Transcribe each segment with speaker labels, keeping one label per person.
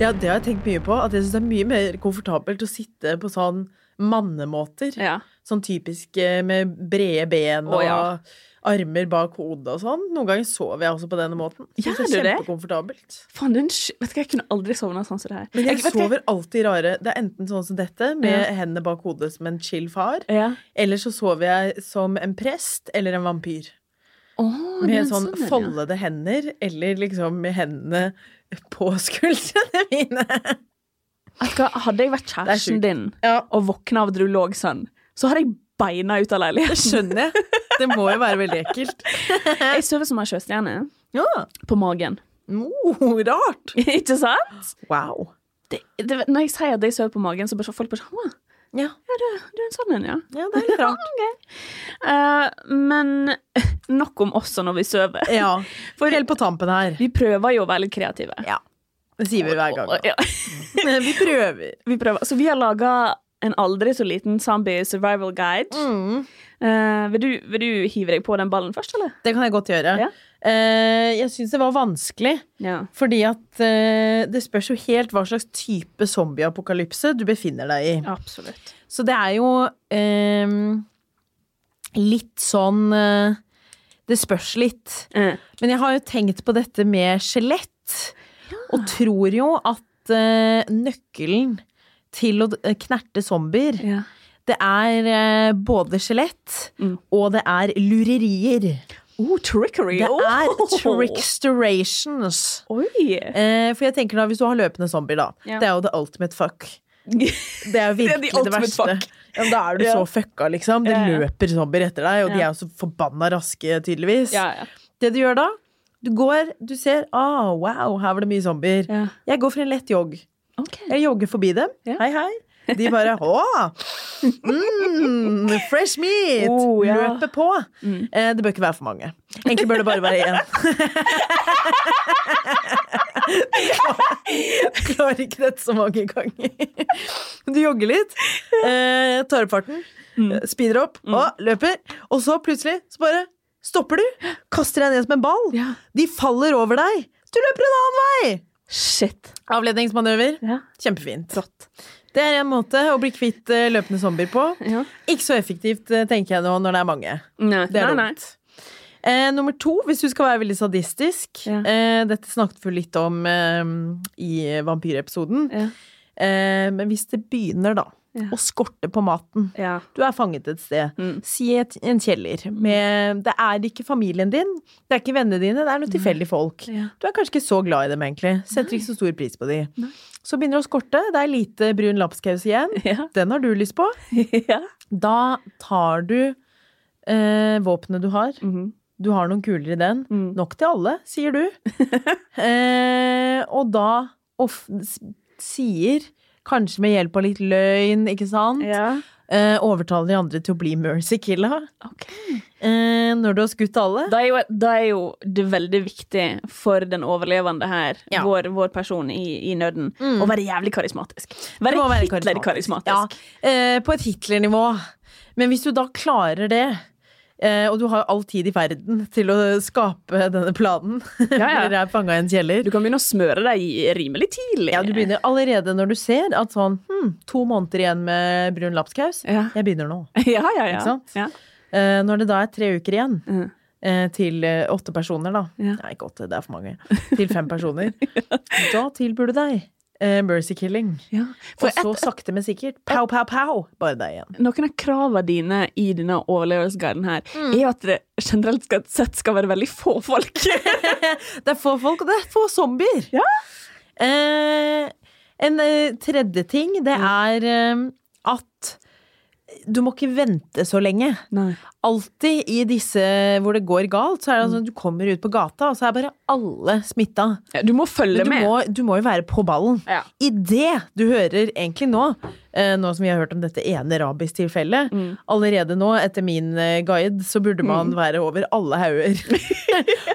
Speaker 1: Ja, det har jeg tenkt mye på. At jeg syns det er mye mer komfortabelt å sitte på sånn mannemåter.
Speaker 2: Ja.
Speaker 1: Sånn typisk eh, med brede ben og
Speaker 2: Å, ja.
Speaker 1: armer bak hodet og sånn. Noen ganger sover jeg også på denne måten. Synes
Speaker 2: Gjør
Speaker 1: det
Speaker 2: du
Speaker 1: er
Speaker 2: det?
Speaker 1: kjempekomfortabelt.
Speaker 2: Faen, du er en sj- Vet du hva, jeg kunne aldri sovna sånn som det her.
Speaker 1: Men jeg,
Speaker 2: vet du hva-
Speaker 1: sover alltid rare. Det er enten sånn som dette, med
Speaker 2: Ja.
Speaker 1: hendene bak hodet som en chill far.
Speaker 2: ja.
Speaker 1: Eller så sover jeg som en prest eller en vampyr.
Speaker 2: Å, det er
Speaker 1: Med
Speaker 2: en
Speaker 1: sånn
Speaker 2: en, ja.
Speaker 1: foldede hender, eller liksom med hendene på skuldrene mine.
Speaker 2: Vet du hva, Hadde jeg vært
Speaker 1: Det er
Speaker 2: kjæresten
Speaker 1: sjukt.
Speaker 2: din
Speaker 1: Ja,
Speaker 2: og våkna av at du lå sånn, så hadde jeg beina ut av leiligheten.
Speaker 1: skjønner jeg. Det må jo være veldig ekkelt.
Speaker 2: Jeg sover som en sjøstjerne.
Speaker 1: Ja.
Speaker 2: På magen.
Speaker 1: Oh, rart!
Speaker 2: Ikke sant?
Speaker 1: Wow.
Speaker 2: Det, det, når jeg sier at jeg sover på magen, så bare så folk bare sånn «Å,
Speaker 1: Ja,
Speaker 2: Ja, du, du er en sånn en, ja.
Speaker 1: ja det er litt rart.
Speaker 2: Eh, men nok om oss og når vi sover.
Speaker 1: Ja,
Speaker 2: For-
Speaker 1: Helt på tampen her.
Speaker 2: Vi prøver jo å være litt kreative.
Speaker 1: Ja. Det sier vi hver gang. da.
Speaker 2: Ja,
Speaker 1: Men Vi prøver.
Speaker 2: vi prøver. Så vi har laga en aldri så liten zombie survival guide.
Speaker 1: Mm.
Speaker 2: Eh, vil, du, vil du hive deg på den ballen først, eller?
Speaker 1: Det kan jeg godt gjøre.
Speaker 2: Ja.
Speaker 1: Eh, jeg syns det var vanskelig,
Speaker 2: Ja.
Speaker 1: fordi at eh, det spørs jo helt hva slags type zombieapokalypse du befinner deg i.
Speaker 2: Absolutt.
Speaker 1: Så det er jo ehm, litt sånn eh, Det spørs litt.
Speaker 2: Eh,
Speaker 1: Men jeg har jo tenkt på dette med skjelett, og tror jo at eh, nøkkelen til å eh, knerte zombier,
Speaker 2: ja.
Speaker 1: det er eh, både skjelett,
Speaker 2: Mm.
Speaker 1: og det er lurerier.
Speaker 2: Oh, trickery!
Speaker 1: Det er
Speaker 2: Oh.
Speaker 1: tricksterations.
Speaker 2: Oi!
Speaker 1: Eh, for jeg tenker da, hvis du har løpende zombier, da.
Speaker 2: Ja.
Speaker 1: Det er jo the ultimate fuck. Det er jo
Speaker 2: er
Speaker 1: virkelig
Speaker 2: the
Speaker 1: det,
Speaker 2: ultimate
Speaker 1: verste.
Speaker 2: fuck.
Speaker 1: Ja, men da er du
Speaker 2: Ja.
Speaker 1: så fucka, liksom. Det
Speaker 2: Ja, ja.
Speaker 1: løper zombier etter deg, og de
Speaker 2: Ja.
Speaker 1: er jo så forbanna raske, tydeligvis.
Speaker 2: Ja, ja.
Speaker 1: Det du gjør da, du går, du ser ah, Wow, her var det mye zombier.
Speaker 2: ja.
Speaker 1: Jeg går for en lett jogg.
Speaker 2: OK.
Speaker 1: Jeg jogger forbi dem.
Speaker 2: Ja.
Speaker 1: Hei, hei. De bare Å! Mm, fresh meat!
Speaker 2: Oh, ja.
Speaker 1: Løper på.
Speaker 2: Mm.
Speaker 1: Eh, det bør ikke være for mange. Egentlig bør det bare være én. Jeg klarer ikke dette så mange ganger. Du jogger litt, eh, tar opp farten,
Speaker 2: Mm.
Speaker 1: eh, speeder opp og løper. Og så plutselig så bare stopper du. Kaster deg ned som en ball.
Speaker 2: Ja.
Speaker 1: De faller over deg. Du løper en annen vei!
Speaker 2: Shit.
Speaker 1: Avledningsmanøver.
Speaker 2: Ja.
Speaker 1: Kjempefint. Det er en måte å bli kvitt eh, løpende zombier på.
Speaker 2: ja.
Speaker 1: Ikke så effektivt, eh, tenker jeg nå, når det er mange.
Speaker 2: Nei,
Speaker 1: Det er
Speaker 2: nei, nei.
Speaker 1: dumt. Eh, nummer to, hvis du skal være veldig sadistisk
Speaker 2: Ja.
Speaker 1: eh, Dette snakket vi litt om eh, i vampyrepisoden.
Speaker 2: Ja.
Speaker 1: Eh, men hvis det begynner, da,
Speaker 2: Ja.
Speaker 1: å skorte på maten
Speaker 2: Ja.
Speaker 1: Du er fanget et sted.
Speaker 2: Mm.
Speaker 1: Si et, en kjeller. Med, det er ikke familien din, det er ikke vennene dine, det er noen tilfeldige folk.
Speaker 2: Ja.
Speaker 1: Du er kanskje ikke så glad i dem, egentlig. Setter ikke så stor pris på de.
Speaker 2: Nei.
Speaker 1: Så begynner det å skorte. Det er lite brun lapskaus igjen.
Speaker 2: Ja.
Speaker 1: Den har du lyst på.
Speaker 2: ja.
Speaker 1: Da tar du eh, våpenet du har.
Speaker 2: Mhm.
Speaker 1: Du har noen kuler i den.
Speaker 2: Mm.
Speaker 1: Nok til alle, sier du. eh, og da of s- sier Kanskje med hjelp av litt løgn, ikke sant?
Speaker 2: ja.
Speaker 1: Eh, overtaler de andre til å bli Mercy Killa
Speaker 2: Ok.
Speaker 1: eh, når du har skutt alle.
Speaker 2: Da er, jo, da er jo det veldig viktig for den overlevende her,
Speaker 1: Ja.
Speaker 2: vår, vår person i, i nøden, å være jævlig karismatisk.
Speaker 1: Det
Speaker 2: Være
Speaker 1: må være
Speaker 2: Hitler-karismatisk.
Speaker 1: Ja, eh, på et Hitler-nivå. Men hvis du da klarer det, eh, og du har all tid i verden til å skape denne planen
Speaker 2: Ja, ja.
Speaker 1: Dere er fanga i en kjeller.
Speaker 2: Du kan begynne å smøre deg rimelig tidlig.
Speaker 1: Ja, du begynner allerede når du ser at sånn hm, To måneder igjen med brun lapskaus.
Speaker 2: Ja,
Speaker 1: Jeg begynner nå.
Speaker 2: ja, ja. ja.
Speaker 1: Ikke sant?
Speaker 2: ja.
Speaker 1: Eh, når det da er tre uker igjen
Speaker 2: Mm.
Speaker 1: eh, til eh, åtte personer, da.
Speaker 2: Ja.
Speaker 1: Nei, ikke åtte, det er for mange. Til fem personer. Da tilbyr du deg eh, mercy killing.
Speaker 2: ja.
Speaker 1: Og
Speaker 2: For
Speaker 1: så sakte, men sikkert. Pow, pow, pow! Bare deg igjen.
Speaker 2: noen av kravene dine i denne overlevelsesguiden her,
Speaker 1: Mm.
Speaker 2: er jo at det generelt skal- sett skal være veldig få folk.
Speaker 1: Det er få folk, og det er få zombier.
Speaker 2: Ja.
Speaker 1: Eh, en eh, tredje ting, det
Speaker 2: Mm.
Speaker 1: er eh, at du må ikke vente så lenge.
Speaker 2: Nei.
Speaker 1: Alltid i disse hvor det går galt, så er det
Speaker 2: Mm.
Speaker 1: sånn at du kommer ut på gata, og så er bare alle smitta.
Speaker 2: Ja, du må
Speaker 1: Men
Speaker 2: følge
Speaker 1: du
Speaker 2: med.
Speaker 1: må, du må jo være på ballen.
Speaker 2: Ja.
Speaker 1: I det du hører egentlig nå, eh, nå som vi har hørt om dette ene rabistilfellet, allerede nå, etter min eh, guide, så burde man være over alle hauger.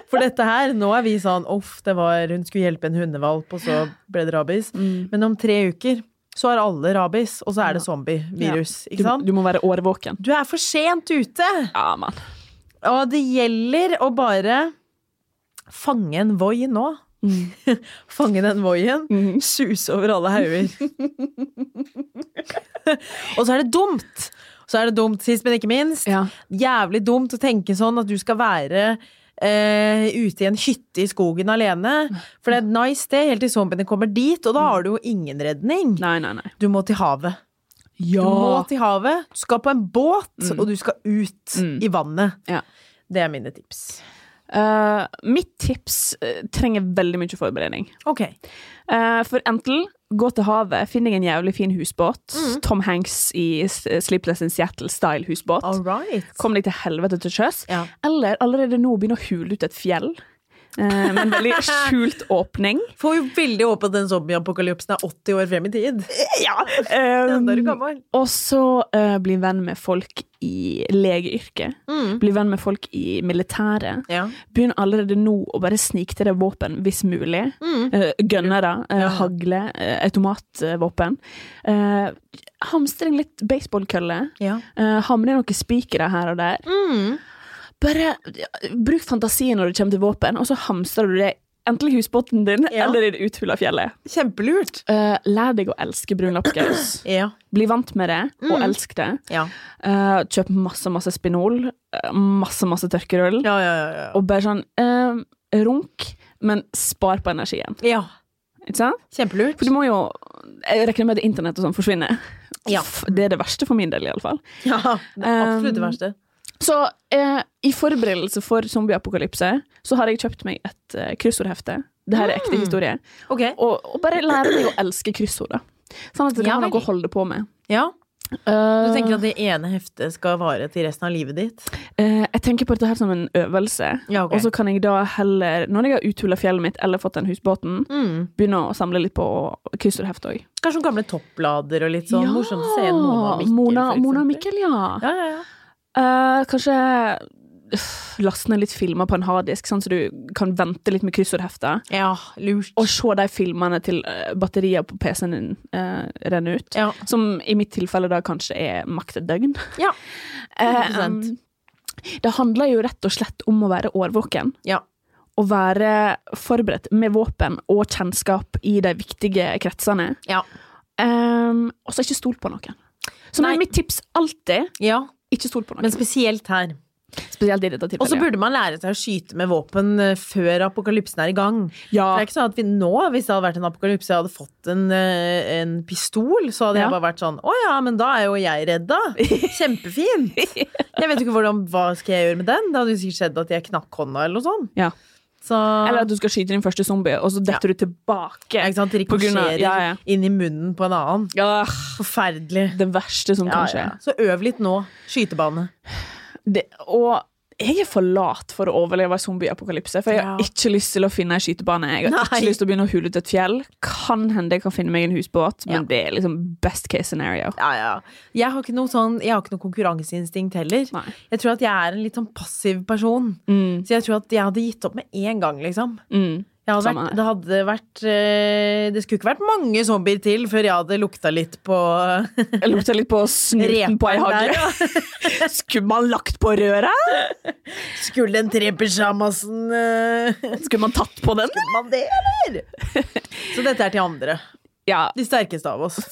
Speaker 1: For dette her, nå er vi sånn uff, det var hun skulle hjelpe en hundevalp, og så ble det rabis. Men om tre uker så har alle rabis, og så er det zombievirus,
Speaker 2: Du,
Speaker 1: ikke sant?
Speaker 2: du må være årvåken.
Speaker 1: Du er for sent ute!
Speaker 2: Ja, mann.
Speaker 1: Og det gjelder å bare fange en voi nå. Fange den voien, suse over alle hauger. og så er det dumt! Så er det dumt, sist, men ikke minst.
Speaker 2: Ja.
Speaker 1: Jævlig dumt å tenke sånn at du skal være eh, ute i en hytte i skogen alene. For det er et nice sted helt til zombiene kommer dit, og da har du jo ingen redning.
Speaker 2: Nei, nei, nei.
Speaker 1: Du må til havet. Du må til havet, du skal på en båt, og du skal ut
Speaker 2: Mm.
Speaker 1: i vannet.
Speaker 2: Ja.
Speaker 1: Det er mine tips.
Speaker 2: Eh, mitt tips eh, trenger veldig mye forberedning.
Speaker 1: Ok.
Speaker 2: Eh, for enten gå til havet, finn deg en jævlig fin husbåt.
Speaker 1: Mm.
Speaker 2: Tom Hanks i S- Sleepless in Seattle-style-husbåt.
Speaker 1: All right.
Speaker 2: Kom deg til helvete til sjøs.
Speaker 1: Ja.
Speaker 2: Eller allerede nå begynne å hule ut et fjell. eh, med en veldig skjult åpning.
Speaker 1: Får jo veldig håpe at den zombieapokalypsen er 80 år frem i tid.
Speaker 2: Ja!
Speaker 1: Den der er gammel.
Speaker 2: Eh, og så eh, bli venn med folk i legeyrket.
Speaker 1: Mm.
Speaker 2: Bli venn med folk i militæret.
Speaker 1: Ja.
Speaker 2: Begynn allerede nå å bare snike til deg våpen, hvis mulig. Eh, Gønnere, eh,
Speaker 1: Mm. Ja.
Speaker 2: hagle, eh, automatvåpen. Eh, hamstre inn litt baseballkølle.
Speaker 1: Ja.
Speaker 2: Uh, ha med deg noen spikere her og der.
Speaker 1: Mm.
Speaker 2: Bare ja, bruk fantasien når det kommer til våpen, og så hamstrer du det enten i husbåten din
Speaker 1: Ja.
Speaker 2: eller i det uthula fjellet.
Speaker 1: Kjempelurt.
Speaker 2: Eh, lær deg å elske brun lapskaus.
Speaker 1: Ja.
Speaker 2: Bli vant med det,
Speaker 1: Mm.
Speaker 2: og elsk det.
Speaker 1: Ja.
Speaker 2: Eh, kjøp masse, masse Spinol. eh, masse, masse tørkerull.
Speaker 1: Ja, ja, ja, ja.
Speaker 2: Og bare sånn eh, Runk, men spar på energien.
Speaker 1: ja.
Speaker 2: Ikke sant?
Speaker 1: Kjempelurt.
Speaker 2: For du må jo Jeg regner med at internett og sånn forsvinner.
Speaker 1: Ja.
Speaker 2: Uff, Det er det verste for min del, iallfall.
Speaker 1: Ja, det er absolutt det
Speaker 2: Um,
Speaker 1: verste.
Speaker 2: Så eh, i forberedelse for zombieapokalypse så har jeg kjøpt meg et eh, kryssordhefte. Det her er
Speaker 1: Mm.
Speaker 2: ekte historie.
Speaker 1: Ok.
Speaker 2: Og, og bare lære meg å elske kryssord, da. Sånn at det
Speaker 1: Ja
Speaker 2: kan være noe
Speaker 1: vel.
Speaker 2: å holde på med.
Speaker 1: Ja. Du
Speaker 2: Eh,
Speaker 1: tenker at det ene heftet skal vare til resten av livet ditt?
Speaker 2: eh, jeg tenker på dette her som en øvelse.
Speaker 1: Ja, ok.
Speaker 2: Og så kan jeg da heller, når jeg har uthula fjellet mitt eller fått den husbåten,
Speaker 1: Mm.
Speaker 2: begynne å samle litt på kryssordhefte òg.
Speaker 1: Kanskje noen gamle topplader og litt sånn morsomt å se Mona og Mikkel,
Speaker 2: Mona,
Speaker 1: for eksempel.
Speaker 2: Mona og Mikkel, ja.
Speaker 1: Ja, ja, ja.
Speaker 2: Eh, kanskje øh, laste ned litt filmer på en harddisk, sånn så du kan vente litt med kryssordhefter.
Speaker 1: Ja, lurt.
Speaker 2: Og se de filmene til øh, batterier på PC-en din øh, renner ut.
Speaker 1: Ja.
Speaker 2: Som i mitt tilfelle da kanskje er makt et døgn.
Speaker 1: Ja.
Speaker 2: Eh, mm,
Speaker 1: 100%.
Speaker 2: det handler jo rett og slett om å være årvåken.
Speaker 1: Ja.
Speaker 2: Å være forberedt med våpen og kjennskap i de viktige kretsene.
Speaker 1: Ja.
Speaker 2: Um, og så ikke stol på noen. Som
Speaker 1: Nei.
Speaker 2: er mitt tips alltid.
Speaker 1: ja.
Speaker 2: Ikke stol på noen.
Speaker 1: Men spesielt her.
Speaker 2: Spesielt i dette
Speaker 1: Og så
Speaker 2: tilfellet.
Speaker 1: burde man lære seg å skyte med våpen eh, før apokalypsen er i gang.
Speaker 2: ja.
Speaker 1: For det er ikke sånn at vi nå, hvis det hadde vært en apokalypse, jeg hadde fått en, eh, en pistol, så hadde
Speaker 2: Ja.
Speaker 1: jeg bare vært sånn Å ja, men da er jo jeg redd, da. Kjempefint. Jeg vet jo ikke hvordan, hva skal jeg gjøre med den. Det hadde jo sikkert skjedd at jeg knakk hånda eller noe sånt.
Speaker 2: Ja.
Speaker 1: Så
Speaker 2: Eller at du skal skyte din første zombie, og så detter du tilbake.
Speaker 1: ikke sant,
Speaker 2: på grunn av-
Speaker 1: rikosjerer
Speaker 2: ja, ja.
Speaker 1: inn i munnen på en annen.
Speaker 2: Ah,
Speaker 1: Forferdelig.
Speaker 2: det verste som
Speaker 1: Ja,
Speaker 2: kan skje.
Speaker 1: ja. Så øv litt nå. Skytebane.
Speaker 2: Det, og jeg er for lat for å overleve zombieapokalypse, for jeg har
Speaker 1: Ja.
Speaker 2: ikke lyst til å finne ei skytebane. Jeg har
Speaker 1: Nei.
Speaker 2: ikke lyst til å begynne å hule ut et fjell. Kan hende jeg kan finne meg en husbåt, men
Speaker 1: Ja.
Speaker 2: det er liksom best case scenario.
Speaker 1: Ja, ja. Jeg har ikke noe sånn Jeg har ikke noe konkurranseinstinkt heller.
Speaker 2: Nei.
Speaker 1: Jeg tror at jeg er en litt sånn passiv person.
Speaker 2: Mm,
Speaker 1: Så jeg tror at jeg hadde gitt opp med en gang, liksom.
Speaker 2: mm.
Speaker 1: Jeg hadde
Speaker 2: Samme
Speaker 1: vært,
Speaker 2: her.
Speaker 1: det hadde vært eh, Det skulle ikke vært mange zombier til før jeg hadde lukta litt på
Speaker 2: Jeg lukter litt på snuten på ei
Speaker 1: Repen der,
Speaker 2: hagle. Skulle man lagt på røret?
Speaker 1: Skulle den tre pysjamasen eh,
Speaker 2: Skulle man tatt på den?
Speaker 1: Man det, eller? Så dette er til andre.
Speaker 2: Ja,
Speaker 1: De sterkeste av oss.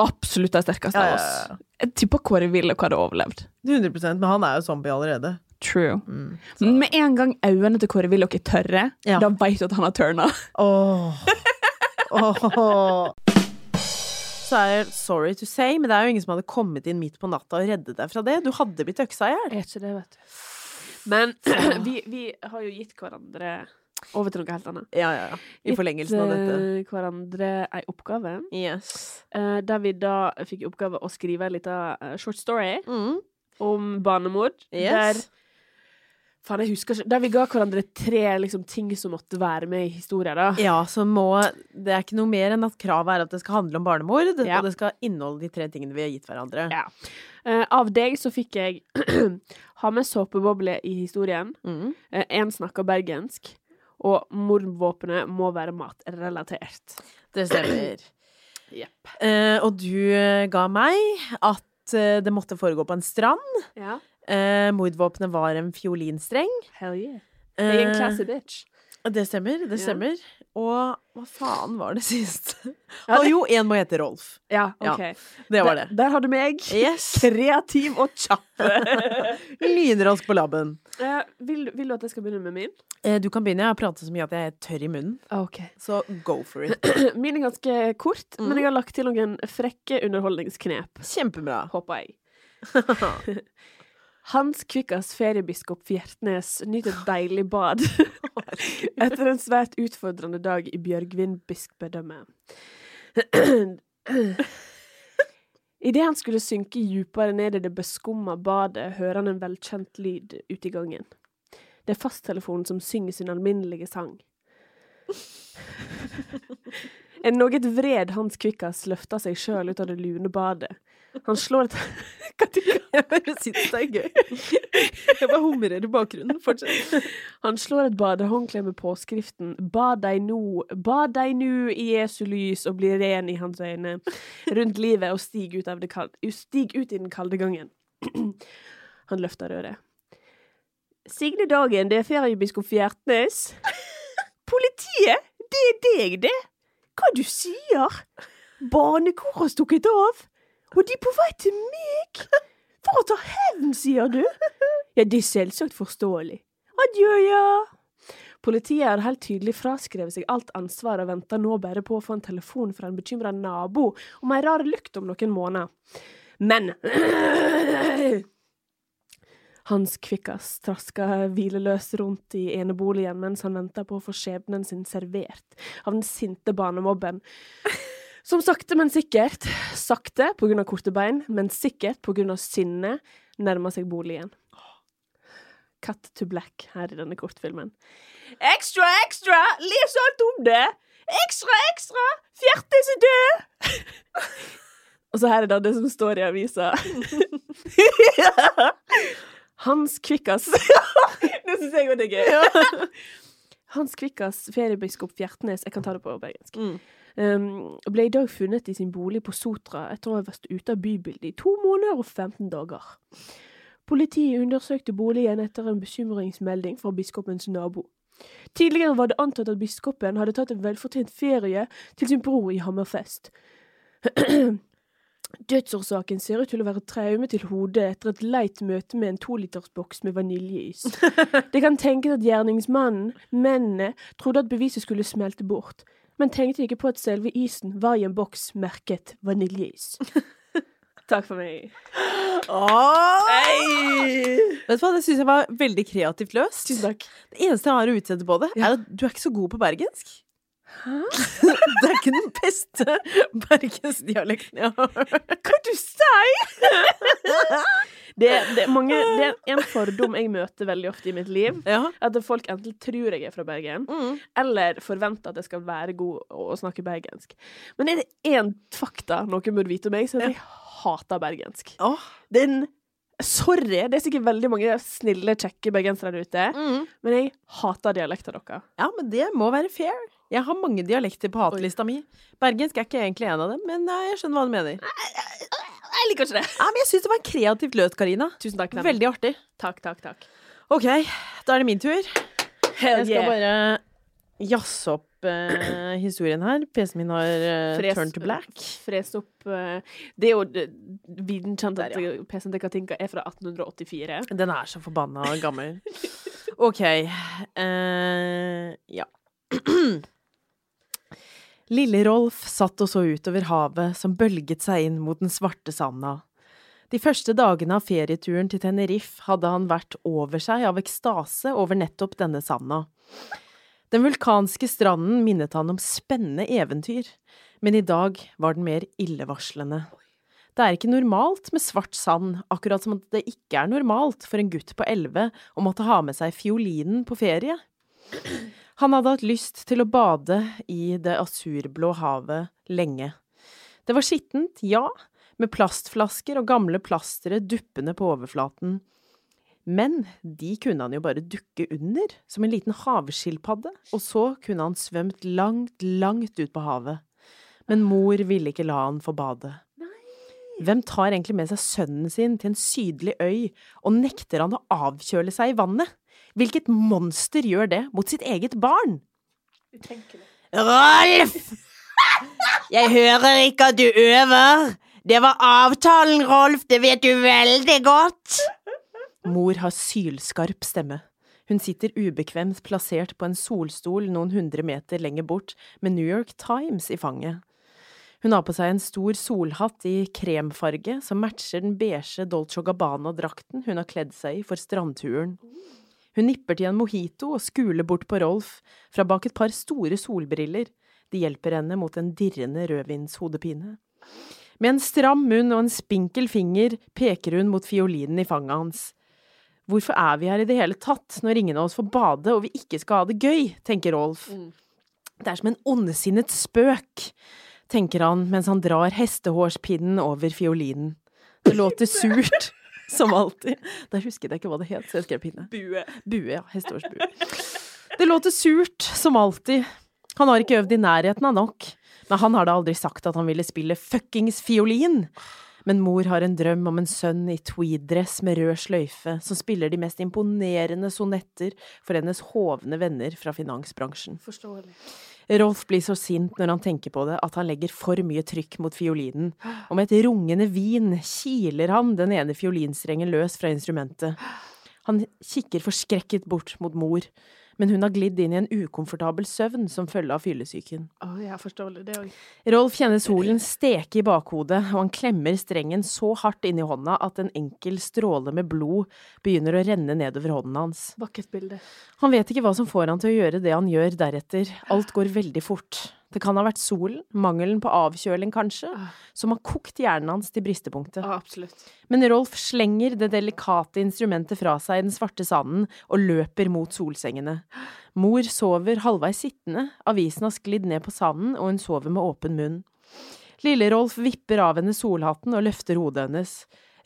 Speaker 2: absolutt de sterkeste
Speaker 1: Ja, ja,
Speaker 2: av
Speaker 1: ja.
Speaker 2: oss. Jeg tipper Kåre Willoch hadde overlevd.
Speaker 1: 100 Men han er jo zombie allerede. Mm.
Speaker 2: True. Men med en gang øynene til Kåre Willoch er tørre,
Speaker 1: Ja.
Speaker 2: da veit du at han har turna.
Speaker 1: Åh. Åh. Så er jeg sorry to say, men det er jo ingen som hadde kommet inn midt på natta og reddet deg fra det. Du hadde blitt øksa i hjel.
Speaker 2: Men vi, har jo gitt hverandre over til noe helt annet. eh,
Speaker 1: Ja, ja, ja. I forlengelsen av dette.
Speaker 2: hverandre ei oppgave, eh,
Speaker 1: Yes.
Speaker 2: der vi da fikk i oppgave å skrive ei lita short story
Speaker 1: Mm.
Speaker 2: om barnemord.
Speaker 1: Yes.
Speaker 2: Faen, jeg husker ikke Der vi ga hverandre tre liksom, ting som måtte være med i historien, da.
Speaker 1: Ja, så må Det er ikke noe mer enn at kravet er at det skal handle om barnemord,
Speaker 2: Ja.
Speaker 1: og det skal inneholde de tre tingene vi har gitt hverandre.
Speaker 2: Ja. Eh, av deg så fikk jeg ha med såpeboble i historien.
Speaker 1: Mm.
Speaker 2: Eh, en snakker bergensk. Og mordvåpenet må være matrelatert.
Speaker 1: Det stemmer.
Speaker 2: Jepp.
Speaker 1: Eh, og du eh, ga meg at eh, det måtte foregå på en strand.
Speaker 2: Ja.
Speaker 1: Eh, mordvåpenet var en fiolinstreng.
Speaker 2: Hell yeah. Jeg er en
Speaker 1: Eh,
Speaker 2: classy bitch.
Speaker 1: Det stemmer, det
Speaker 2: Ja.
Speaker 1: stemmer. Og hva faen var det sist?
Speaker 2: Ja,
Speaker 1: Å,
Speaker 2: det-
Speaker 1: jo, en må hete Rolf.
Speaker 2: Ja,
Speaker 1: Ja,
Speaker 2: ok.
Speaker 1: Det var det.
Speaker 2: Der, der har du meg.
Speaker 1: Yes.
Speaker 2: Kreativ og kjapp.
Speaker 1: Lynrask på labben.
Speaker 2: Eh, vil, vil du at jeg skal begynne med min?
Speaker 1: Eh, Du kan begynne. Jeg har pratet så mye at jeg er tørr i munnen.
Speaker 2: Ok. Mhm.
Speaker 1: Så go for it.
Speaker 2: Min er ganske kort, men jeg har lagt til noen frekke underholdningsknep,
Speaker 1: Kjempebra.
Speaker 2: håper jeg. Hans Kvikkas feriebiskop Fjertnes nyter et deilig bad etter en svært utfordrende dag i Bjørgvin bispedømme. Idet han skulle synke djupere ned i det beskumma badet, hører han en velkjent lyd ute i gangen. Det er fasttelefonen som synger sin alminnelige sang. En noe vred Hans Kvikkas løfter seg sjøl ut av det lune badet. Han slår et Hva tenker du?
Speaker 1: Jeg bare syns det er gøy. Jeg bare humrer i bakgrunnen. Fortsett.
Speaker 2: Han slår et badehåndkle med påskriften 'Bad deg nå, bad deg nå i Jesu lys og bli ren i hans øyne' rundt livet og stig ut, av det kal- stig ut i den kalde gangen. Han løfter røret. Signe Dagen, det er feriebiskop Fjertnes. Politiet, det er deg, det! Hva du sier? Barnekoret har stukket av, og de er på vei til meg! For å ta hevn, sier du? Ja, det er selvsagt forståelig. Adjø, ja. Politiet har helt tydelig fraskrevet seg alt ansvar og venter nå bare på å få en telefon fra en bekymra nabo om ei rar lukt om noen måneder. Men Hans Kvikkas traska hvileløst rundt i eneboligen mens han venta på å få skjebnen sin servert av den sinte barnemobben. Som sakte, men sikkert. Sakte pga. korte bein, men sikkert pga. sinne nærma seg boligen. Cut to black her i denne kortfilmen. Ekstra, ekstra! Les alt om det! Ekstra, ekstra! Fjertes er død! Og så her er det det som står i avisa. Hans Kvikkas Det syns jeg òg er gøy. Hans Kvikkas, feriebiskop Fjertnes Jeg kan ta det på bergensk.
Speaker 1: Mm.
Speaker 2: Um, ble i dag funnet i sin bolig på Sotra etter å ha vært ute av bybildet i to måneder og 15 dager. Politiet undersøkte boligen etter en bekymringsmelding fra biskopens nabo. Tidligere var det antatt at biskopen hadde tatt en velfortjent ferie til sin bror i Hammerfest. Dødsårsaken ser ut til å være traume til hodet etter et leit møte med en tolitersboks med vaniljeis. Det kan tenkes at gjerningsmannen, mennene, trodde at beviset skulle smelte bort, men tenkte ikke på at selve isen var i en boks merket vaniljeis. Takk for meg.
Speaker 1: Vet du hva, Det syns jeg var veldig kreativt løst.
Speaker 2: Tusen takk.
Speaker 1: Det eneste jeg har å utsette på det, er at du er ikke så god på bergensk. det er ikke den beste bergensdialekten jeg har hørt.
Speaker 2: Hva du sier?! det, det, er mange, det er en fordom jeg møter veldig ofte i mitt liv.
Speaker 1: Ja.
Speaker 2: At folk enten tror jeg er fra Bergen,
Speaker 1: Mm.
Speaker 2: eller forventer at jeg skal være god å å snakke bergensk. Men er det én fakta noen burde vite om meg, så er det at jeg hater bergensk.
Speaker 1: Åh.
Speaker 2: Den Sorry, det er sikkert veldig mange snille, kjekke bergensere der ute, men jeg hater dialekten deres.
Speaker 1: Mm. ja, men det må være fair. Jeg har mange dialekter på hatlista mi. Bergensk er ikke egentlig en av dem, men eh, jeg skjønner hva du mener.
Speaker 2: Jeg liker ikke det.
Speaker 1: Ja, men jeg syns det var kreativt løst, Karina.
Speaker 2: Tusen takk. Ken.
Speaker 1: Veldig artig.
Speaker 2: Takk, takk, takk.
Speaker 1: Ok, da er det min tur. Jeg
Speaker 2: Hell
Speaker 1: skal bare jazze opp eh, historien her. PC-en min har eh,
Speaker 2: Fres-
Speaker 1: turned to black.
Speaker 2: Fres opp eh, Det er jo d- viden kjent at
Speaker 1: Der, ja.
Speaker 2: eh, PC-en til Katinka er fra 1884.
Speaker 1: Den er så forbanna gammel. OK. eh, ja. Lille Rolf satt og så utover havet som bølget seg inn mot den svarte sanda. De første dagene av ferieturen til Tenerife hadde han vært over seg av ekstase over nettopp denne sanda. Den vulkanske stranden minnet han om spennende eventyr, men i dag var den mer illevarslende. Det er ikke normalt med svart sand, akkurat som at det ikke er normalt for en gutt på elleve å måtte ha med seg fiolinen på ferie. Han hadde hatt lyst til å bade i det asurblå havet lenge. Det var skittent, ja, med plastflasker og gamle plastre duppende på overflaten. Men de kunne han jo bare dukke under, som en liten havskilpadde, og så kunne han svømt langt, langt ut på havet. Men mor ville ikke la han få bade. Hvem tar egentlig med seg sønnen sin til en sydlig øy og nekter han å avkjøle seg i vannet? Hvilket monster gjør det mot sitt eget barn? Rolf! Jeg hører ikke at du øver. Det var avtalen, Rolf, det vet du veldig godt. Mor har sylskarp stemme. Hun sitter ubekvemt plassert på en solstol noen hundre meter lenger bort, med New York Times i fanget. Hun har på seg en stor solhatt i kremfarge som matcher den beige Dolce Gabbana-drakten hun har kledd seg i for strandturen. Hun nipper til en mojito og skuler bort på Rolf fra bak et par store solbriller. De hjelper henne mot en dirrende rødvinshodepine. Med en stram munn og en spinkel finger peker hun mot fiolinen i fanget hans. Hvorfor er vi her i det hele tatt, når ingen av oss får bade og vi ikke skal ha det gøy, tenker Rolf. Det er som en ondsinnet spøk, tenker han mens han drar hestehårspinnen over fiolinen. Det låter surt, som alltid. Der husket jeg ikke hva det het, så jeg skrev pinne.
Speaker 2: Bue.
Speaker 1: Bue, ja. Hesteårsbue. Det låter surt, som alltid. Han har ikke øvd i nærheten av nok. Men han har da aldri sagt at han ville spille fuckings fiolin. Men mor har en drøm om en sønn i tweed-dress med rød sløyfe, som spiller de mest imponerende sonetter for hennes hovne venner fra finansbransjen.
Speaker 2: Forståelig.
Speaker 1: Rolf blir så sint når han tenker på det at han legger for mye trykk mot fiolinen, og med et rungende vin kiler han den ene fiolinstrengen løs fra instrumentet. Han kikker forskrekket bort mot mor, men hun har glidd inn i en ukomfortabel søvn som følge av fyllesyken.
Speaker 2: Å ja, forståelig. Det òg.
Speaker 1: Rolf kjenner solen steke i bakhodet, og han klemmer strengen så hardt inn i hånda at en enkel stråle med blod begynner å renne nedover hånden hans.
Speaker 2: Vakkert bilde.
Speaker 1: Han vet ikke hva som får han til å gjøre det han gjør deretter. Alt går veldig fort. Det kan ha vært solen, mangelen på avkjøling kanskje, som har kokt hjernen hans til bristepunktet.
Speaker 2: Ja, absolutt.
Speaker 1: Men Rolf slenger det delikate instrumentet fra seg i den svarte sanden og løper mot solsengene. Mor sover halvveis sittende, avisen har sklidd ned på sanden, og hun sover med åpen munn. Lille-Rolf vipper av henne solhatten og løfter hodet hennes.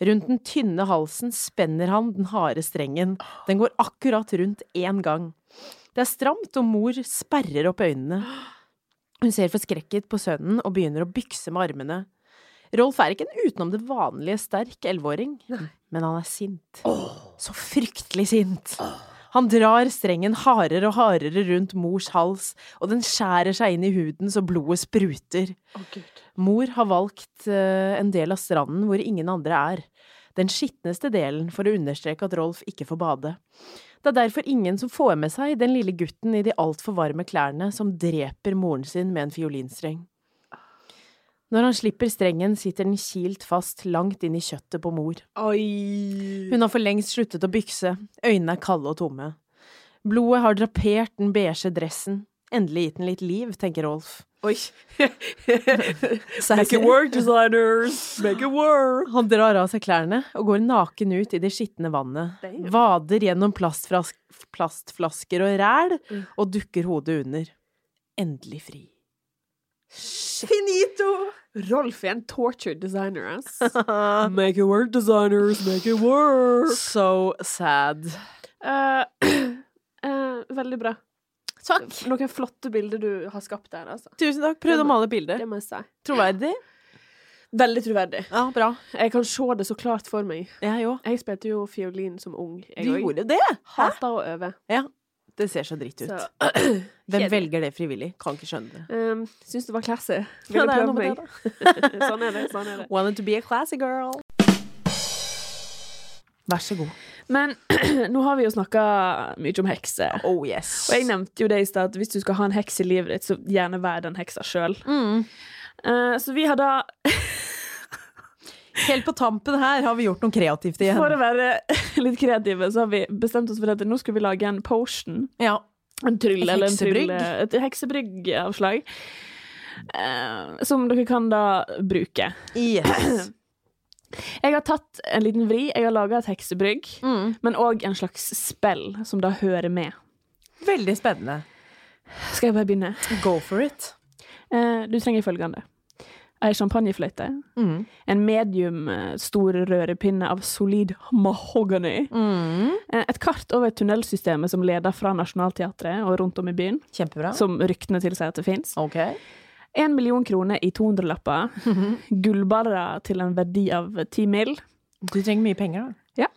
Speaker 1: Rundt den tynne halsen spenner han den harde strengen. Den går akkurat rundt én gang. Det er stramt, og mor sperrer opp øynene. Hun ser forskrekket på sønnen og begynner å bykse med armene. Rolf er ikke en utenom det vanlige sterk elleveåring, men han er sint. Så fryktelig sint. Han drar strengen hardere og hardere rundt mors hals, og den skjærer seg inn i huden så blodet spruter.
Speaker 2: Å, gud.
Speaker 1: Mor har valgt eh, en del av stranden hvor ingen andre er. Den skitneste delen for å understreke at Rolf ikke får bade. Det er derfor ingen som får med seg den lille gutten i de altfor varme klærne som dreper moren sin med en fiolinstreng. Når han slipper strengen, sitter den kilt fast langt inn i kjøttet på mor.
Speaker 2: Oi!
Speaker 1: Hun har for lengst sluttet å bykse, øynene er kalde og tomme. Blodet har drapert den beige dressen. Endelig gitt den litt liv, tenker Rolf.
Speaker 2: Oi.
Speaker 1: Så
Speaker 2: Make it work, designers! Make it work!
Speaker 1: Han drar av seg klærne og går naken ut i det skitne vannet.
Speaker 2: Damn.
Speaker 1: Vader gjennom plastfras- plastflasker og ræl,
Speaker 2: Mm.
Speaker 1: og dukker hodet under. Endelig fri.
Speaker 2: Finito! Rolf er en tortured designer, ass. Make it work, designers! Make it work!
Speaker 1: So sad.
Speaker 2: Eh, eh, veldig bra.
Speaker 1: Takk.
Speaker 2: Noen flotte bilder du har skapt der, altså.
Speaker 1: Tusen takk. Prøvde å male bildet.
Speaker 2: Det må jeg si.
Speaker 1: Troverdig?
Speaker 2: Veldig troverdig.
Speaker 1: Ja, bra.
Speaker 2: Jeg kan se det så klart for meg.
Speaker 1: Jeg òg.
Speaker 2: Jeg spilte jo fiolin som ung. Jeg
Speaker 1: Du
Speaker 2: også.
Speaker 1: gjorde det?
Speaker 2: Hata å øve.
Speaker 1: Det ser så dritt ut.
Speaker 2: Så
Speaker 1: Hvem
Speaker 2: kjedelig.
Speaker 1: velger det frivillig? Kan ikke skjønne det.
Speaker 2: um, syns det var classy.
Speaker 1: Ja,
Speaker 2: Ville
Speaker 1: det er noe med
Speaker 2: prøve meg. sånn er det. sånn er det.
Speaker 1: Wanted to be a classy girl. Vær så god.
Speaker 2: Men nå har vi jo snakka mye om hekser.
Speaker 1: Oh yes.
Speaker 2: Og jeg nevnte jo det i stad, at hvis du skal ha en heks i livet ditt, så gjerne vær den heksa sjøl.
Speaker 1: Mm.
Speaker 2: så vi har da,
Speaker 1: Helt på tampen her har vi gjort noe kreativt igjen.
Speaker 2: for å være litt kreative, så har vi bestemt oss for at nå skal vi lage en potion.
Speaker 1: Ja.
Speaker 2: En tryll
Speaker 1: Et
Speaker 2: eller en
Speaker 1: heksebrygg.
Speaker 2: tryll, eh, et heksebrygg-avslag. eh, som dere kan da bruke.
Speaker 1: Yes.
Speaker 2: Jeg har tatt en liten vri. Jeg har laga et heksebrygg,
Speaker 1: Mm.
Speaker 2: men òg en slags spill som da hører med.
Speaker 1: Veldig spennende.
Speaker 2: Skal jeg bare begynne?
Speaker 1: Go for it.
Speaker 2: Eh, du trenger følgende. Ei champagnefløyte.
Speaker 1: Mm.
Speaker 2: En medium eh, stor rørepinne av solid mahogany.
Speaker 1: Mm.
Speaker 2: Eh, et kart over tunnelsystemet som leder fra Nationaltheatret og rundt om i byen,
Speaker 1: Kjempebra.
Speaker 2: som ryktene tilsier at det fins.
Speaker 1: OK.
Speaker 2: Én million kroner i 200-lapper. Gullbarrer til en verdi av ti mill.
Speaker 1: Du trenger mye penger, da.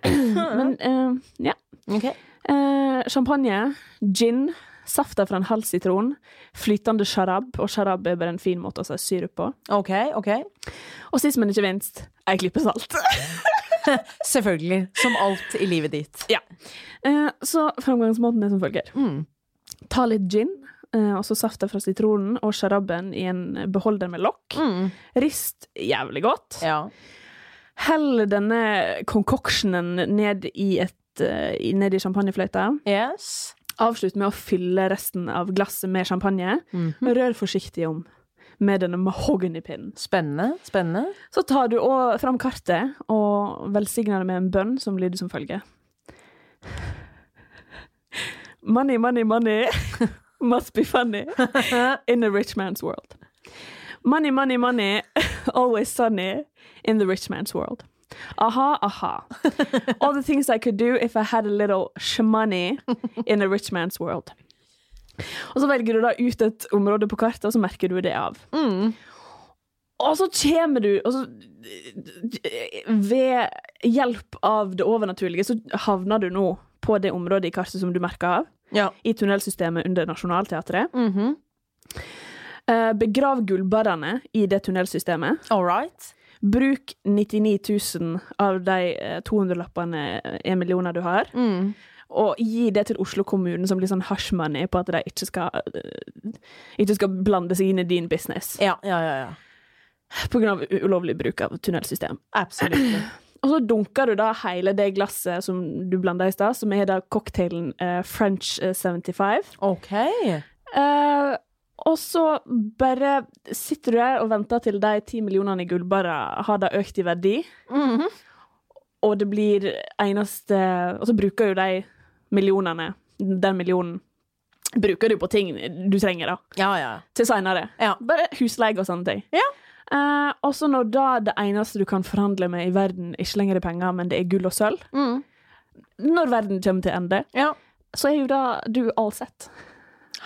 Speaker 2: Men eh, ja.
Speaker 1: Ok.
Speaker 2: Eh, champagne, gin, safta fra en halv sitron, flytende sharab, og sharab er bare en fin måte å si syrup på.
Speaker 1: Ok, ok.
Speaker 2: Og sist, men ikke minst, ei klype salt.
Speaker 1: Selvfølgelig. Som alt i livet ditt.
Speaker 2: Eh, så framgangsmåten er som følger.
Speaker 1: Mm.
Speaker 2: Ta litt gin, eh, og så safta fra sitronen og sharaben i en beholder med lokk. Rist jævlig godt.
Speaker 1: Ja.
Speaker 2: Hell denne konkoksjonen ned i et eh, i- ned i champagnefløyta.
Speaker 1: Yes.
Speaker 2: Avslutt med å fylle resten av glasset med champagne. Rør forsiktig om med denne mahognypinnen.
Speaker 1: Spennende. Spennende.
Speaker 2: Så tar du òg fram kartet og velsigner det med en bønn som lyder som følger. Money, money, money must be funny in a rich man's world. Money, money, money always sunny in the rich man's world. Aha, aha. All the things I could do if I had a little shmoney in a rich man's world. Og så velger du da ut et område på kartet, og så merker du det av. Og så kommer du og så, Ved hjelp av det overnaturlige så havner du nå på det området i kartet som du merker av.
Speaker 1: Ja.
Speaker 2: I tunnelsystemet under Nationaltheatret.
Speaker 1: Mm-hmm.
Speaker 2: Eh, Begrav gullbarrene i det tunnelsystemet.
Speaker 1: All right.
Speaker 2: Bruk 99 000 av de eh, 200-lappene, eh, en millioner du har, og gi det til Oslo kommune som litt sånn hush money på at de ikke skal, eh, ikke skal blande seg inn i din business
Speaker 1: Ja, ja, ja. ja.
Speaker 2: på grunn av u- ulovlig bruk av tunnelsystem.
Speaker 1: Absolutt.
Speaker 2: Og så dunker du da hele det glasset som du blanda i stad, som er da cocktailen eh, French eh, 75.
Speaker 1: Ok.
Speaker 2: Eh, og så bare sitter du her og venter til de ti millionene i gullbarra har da økt i verdi, og det blir eneste Og så bruker jo de millionene, den millionen, bruker du på ting du trenger, da
Speaker 1: Ja, ja.
Speaker 2: til seinere.
Speaker 1: Ja.
Speaker 2: Bare husleie og sånne ting.
Speaker 1: Ja.
Speaker 2: Eh, også når da det eneste du kan forhandle med i verden, ikke lenger er penger, men det er gull og sølv.
Speaker 1: Mm.
Speaker 2: Når verden kommer til ende,
Speaker 1: ja.
Speaker 2: så er jo da du all sett.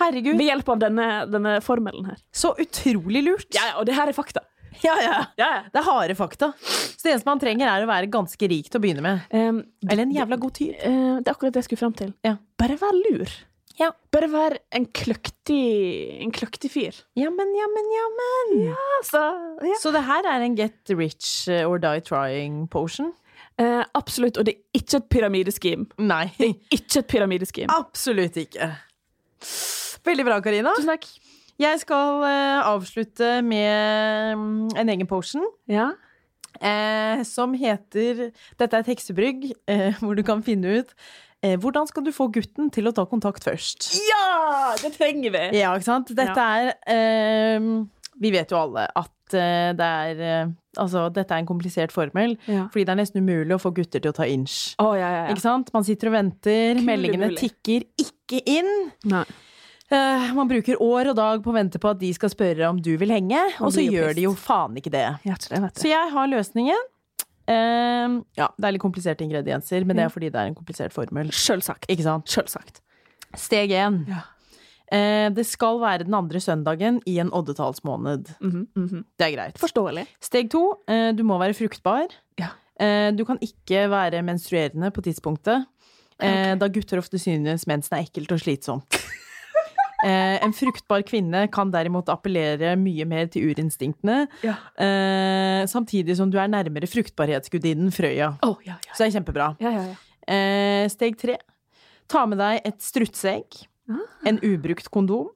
Speaker 1: Herregud.
Speaker 2: Ved hjelp av denne, denne formelen her.
Speaker 1: Så utrolig lurt.
Speaker 2: Ja, ja, og det her er fakta.
Speaker 1: ja, ja.
Speaker 2: Ja, ja.
Speaker 1: Det er harde fakta. Så det eneste man trenger, er å være ganske rik til å begynne med.
Speaker 2: Em,
Speaker 1: Eller en jævla god tyv.
Speaker 2: eh, det er akkurat det jeg skulle fram til.
Speaker 1: Ja.
Speaker 2: Bare vær lur.
Speaker 1: Ja.
Speaker 2: Bare vær en kløktig, en kløktig fyr.
Speaker 1: Jammen, jammen, jammen.
Speaker 2: Altså, ja.
Speaker 1: Så det her er en get rich eh, or die trying potion?
Speaker 2: Eh, absolutt, og det er ikke et pyramideskim.
Speaker 1: Nei.
Speaker 2: Ikke et pyramideskim.
Speaker 1: Absolutt ikke. Veldig bra, Karina.
Speaker 2: Tusen takk.
Speaker 1: Jeg skal eh, avslutte med mm, en egen potion.
Speaker 2: Ja.
Speaker 1: eh, som heter Dette er et heksebrygg, eh, hvor du kan finne ut eh, hvordan skal du få gutten til å ta kontakt først.
Speaker 2: Ja, det trenger vi!
Speaker 1: Ja, ikke sant? Dette er eh, Vi vet jo alle at eh, det er eh, Altså, dette er en komplisert formel,
Speaker 2: Ja.
Speaker 1: fordi det er nesten umulig å få gutter til å ta inch.
Speaker 2: Å, ja, ja, ja.
Speaker 1: Ikke sant? Man sitter og venter,
Speaker 2: Kul
Speaker 1: meldingene
Speaker 2: umulig.
Speaker 1: tikker ikke inn.
Speaker 2: Nei.
Speaker 1: Eh, man bruker år og dag på å vente på at de skal spørre om du vil henge, og så
Speaker 2: blir jo
Speaker 1: gjør de jo
Speaker 2: pissed.
Speaker 1: faen ikke det.
Speaker 2: Jeg har ikke det, vet
Speaker 1: Så jeg har løsningen. Ehm, ja, det er litt kompliserte ingredienser, men det er fordi det er en komplisert formel.
Speaker 2: Selvsagt.
Speaker 1: Ikke sant?
Speaker 2: Selvsagt.
Speaker 1: Steg én.
Speaker 2: Ja.
Speaker 1: Eh, det skal være den andre søndagen i en oddetallsmåned.
Speaker 2: Mhm,
Speaker 1: Det er greit.
Speaker 2: Forståelig.
Speaker 1: Steg to. Eh, du må være fruktbar.
Speaker 2: Ja.
Speaker 1: Eh, du kan ikke være menstruerende på tidspunktet, eh, da gutter ofte synes mensen er ekkelt og slitsomt. Eh, en fruktbar kvinne kan derimot appellere mye mer til urinstinktene,
Speaker 2: Ja.
Speaker 1: eh, samtidig som du er nærmere fruktbarhetsgudinnen Frøya.
Speaker 2: Å, ja, ja.
Speaker 1: Så det er kjempebra.
Speaker 2: Ja, ja, ja.
Speaker 1: Eh, steg tre. Ta med deg et strutseegg,
Speaker 2: Ah.
Speaker 1: en ubrukt kondom,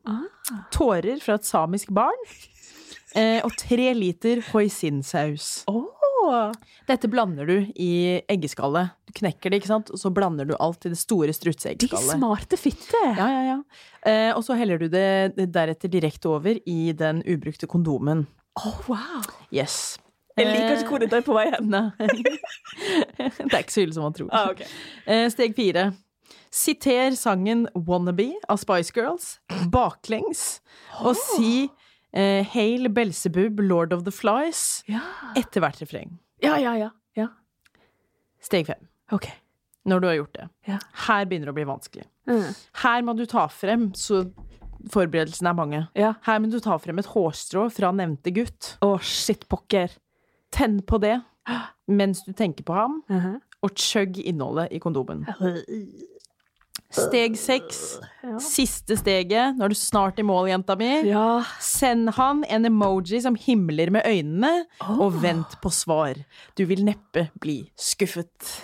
Speaker 1: tårer fra et samisk barn eh, og tre liter hoisinsaus. Dette blander du i eggeskallet. Du knekker det, ikke sant? og så blander du alt i det store
Speaker 2: De
Speaker 1: strutseeggskallet.
Speaker 2: smarte fitter!
Speaker 1: Ja, ja, ja. Eh, og så heller du det deretter direkte over i den ubrukte kondomen.
Speaker 2: Oh, wow.
Speaker 1: Yes. Eh,
Speaker 2: Jeg liker ikke hvor dette er på vei hen.
Speaker 1: Nei. Det er ikke så ille som man tror.
Speaker 2: Ah, ok.
Speaker 1: Eh, Steg fire. Siter sangen Wannabe av Spice Girls baklengs, og si eh, Hail Belsebub, Lord of the Flies
Speaker 2: ja.
Speaker 1: etter hvert refreng.
Speaker 2: ja, ja, ja. ja.
Speaker 1: Steg fem.
Speaker 2: OK.
Speaker 1: Når du har gjort det.
Speaker 2: Ja.
Speaker 1: Her begynner det å bli vanskelig.
Speaker 2: Mm.
Speaker 1: Her må du ta frem, så forberedelsene er mange.
Speaker 2: Ja.
Speaker 1: Her må du ta frem et hårstrå fra nevnte gutt.
Speaker 2: Å, shit pokker.
Speaker 1: Tenn på det mens du tenker på ham,
Speaker 2: Mhm.
Speaker 1: og chugg innholdet i kondomen. Steg seks. Siste steget. Nå er du snart i mål, jenta mi.
Speaker 2: Ja.
Speaker 1: Send han en emoji som himler med øynene, og vent på svar. Du vil neppe bli skuffet.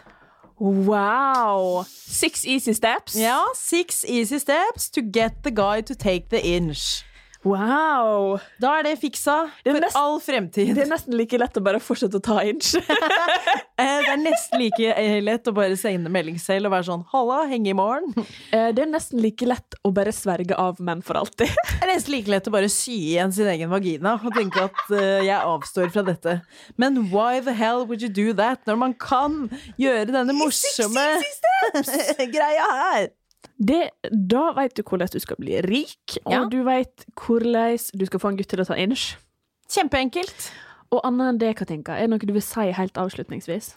Speaker 2: Wow! Six easy steps.
Speaker 1: Ja, six easy steps to get the guy to take the inch.
Speaker 2: Wow!
Speaker 1: Da er det fiksa
Speaker 2: er
Speaker 1: for
Speaker 2: mest-
Speaker 1: all fremtid.
Speaker 2: Det er nesten like lett å bare fortsette å ta inch.
Speaker 1: Eh, Det er nesten like eh, lett å bare sende melding selv og være sånn 'halla, henge i morgen'.
Speaker 2: Eh, det er nesten like lett å bare sverge av menn for alltid.
Speaker 1: Det er nesten like lett å bare sy igjen sin egen vagina og tenke at eh, jeg avstår fra dette. Men why the hell would you do that når man kan gjøre denne morsomme greia her?
Speaker 2: Det, da vet du hvordan du skal bli rik, og
Speaker 1: Ja.
Speaker 2: du vet hvordan du skal få en gutt til å ta inch.
Speaker 1: Kjempeenkelt.
Speaker 2: Og annet enn det, Katinka, er det noe du vil si helt avslutningsvis?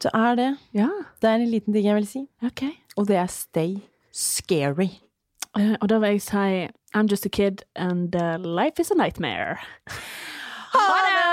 Speaker 1: Det er det.
Speaker 2: Ja,
Speaker 1: Det er en liten ting jeg vil si,
Speaker 2: OK.
Speaker 1: og det er stay scary.
Speaker 2: Eh, og da vil jeg si I'm just a kid, and uh, life is a nightmare.
Speaker 1: Ha det!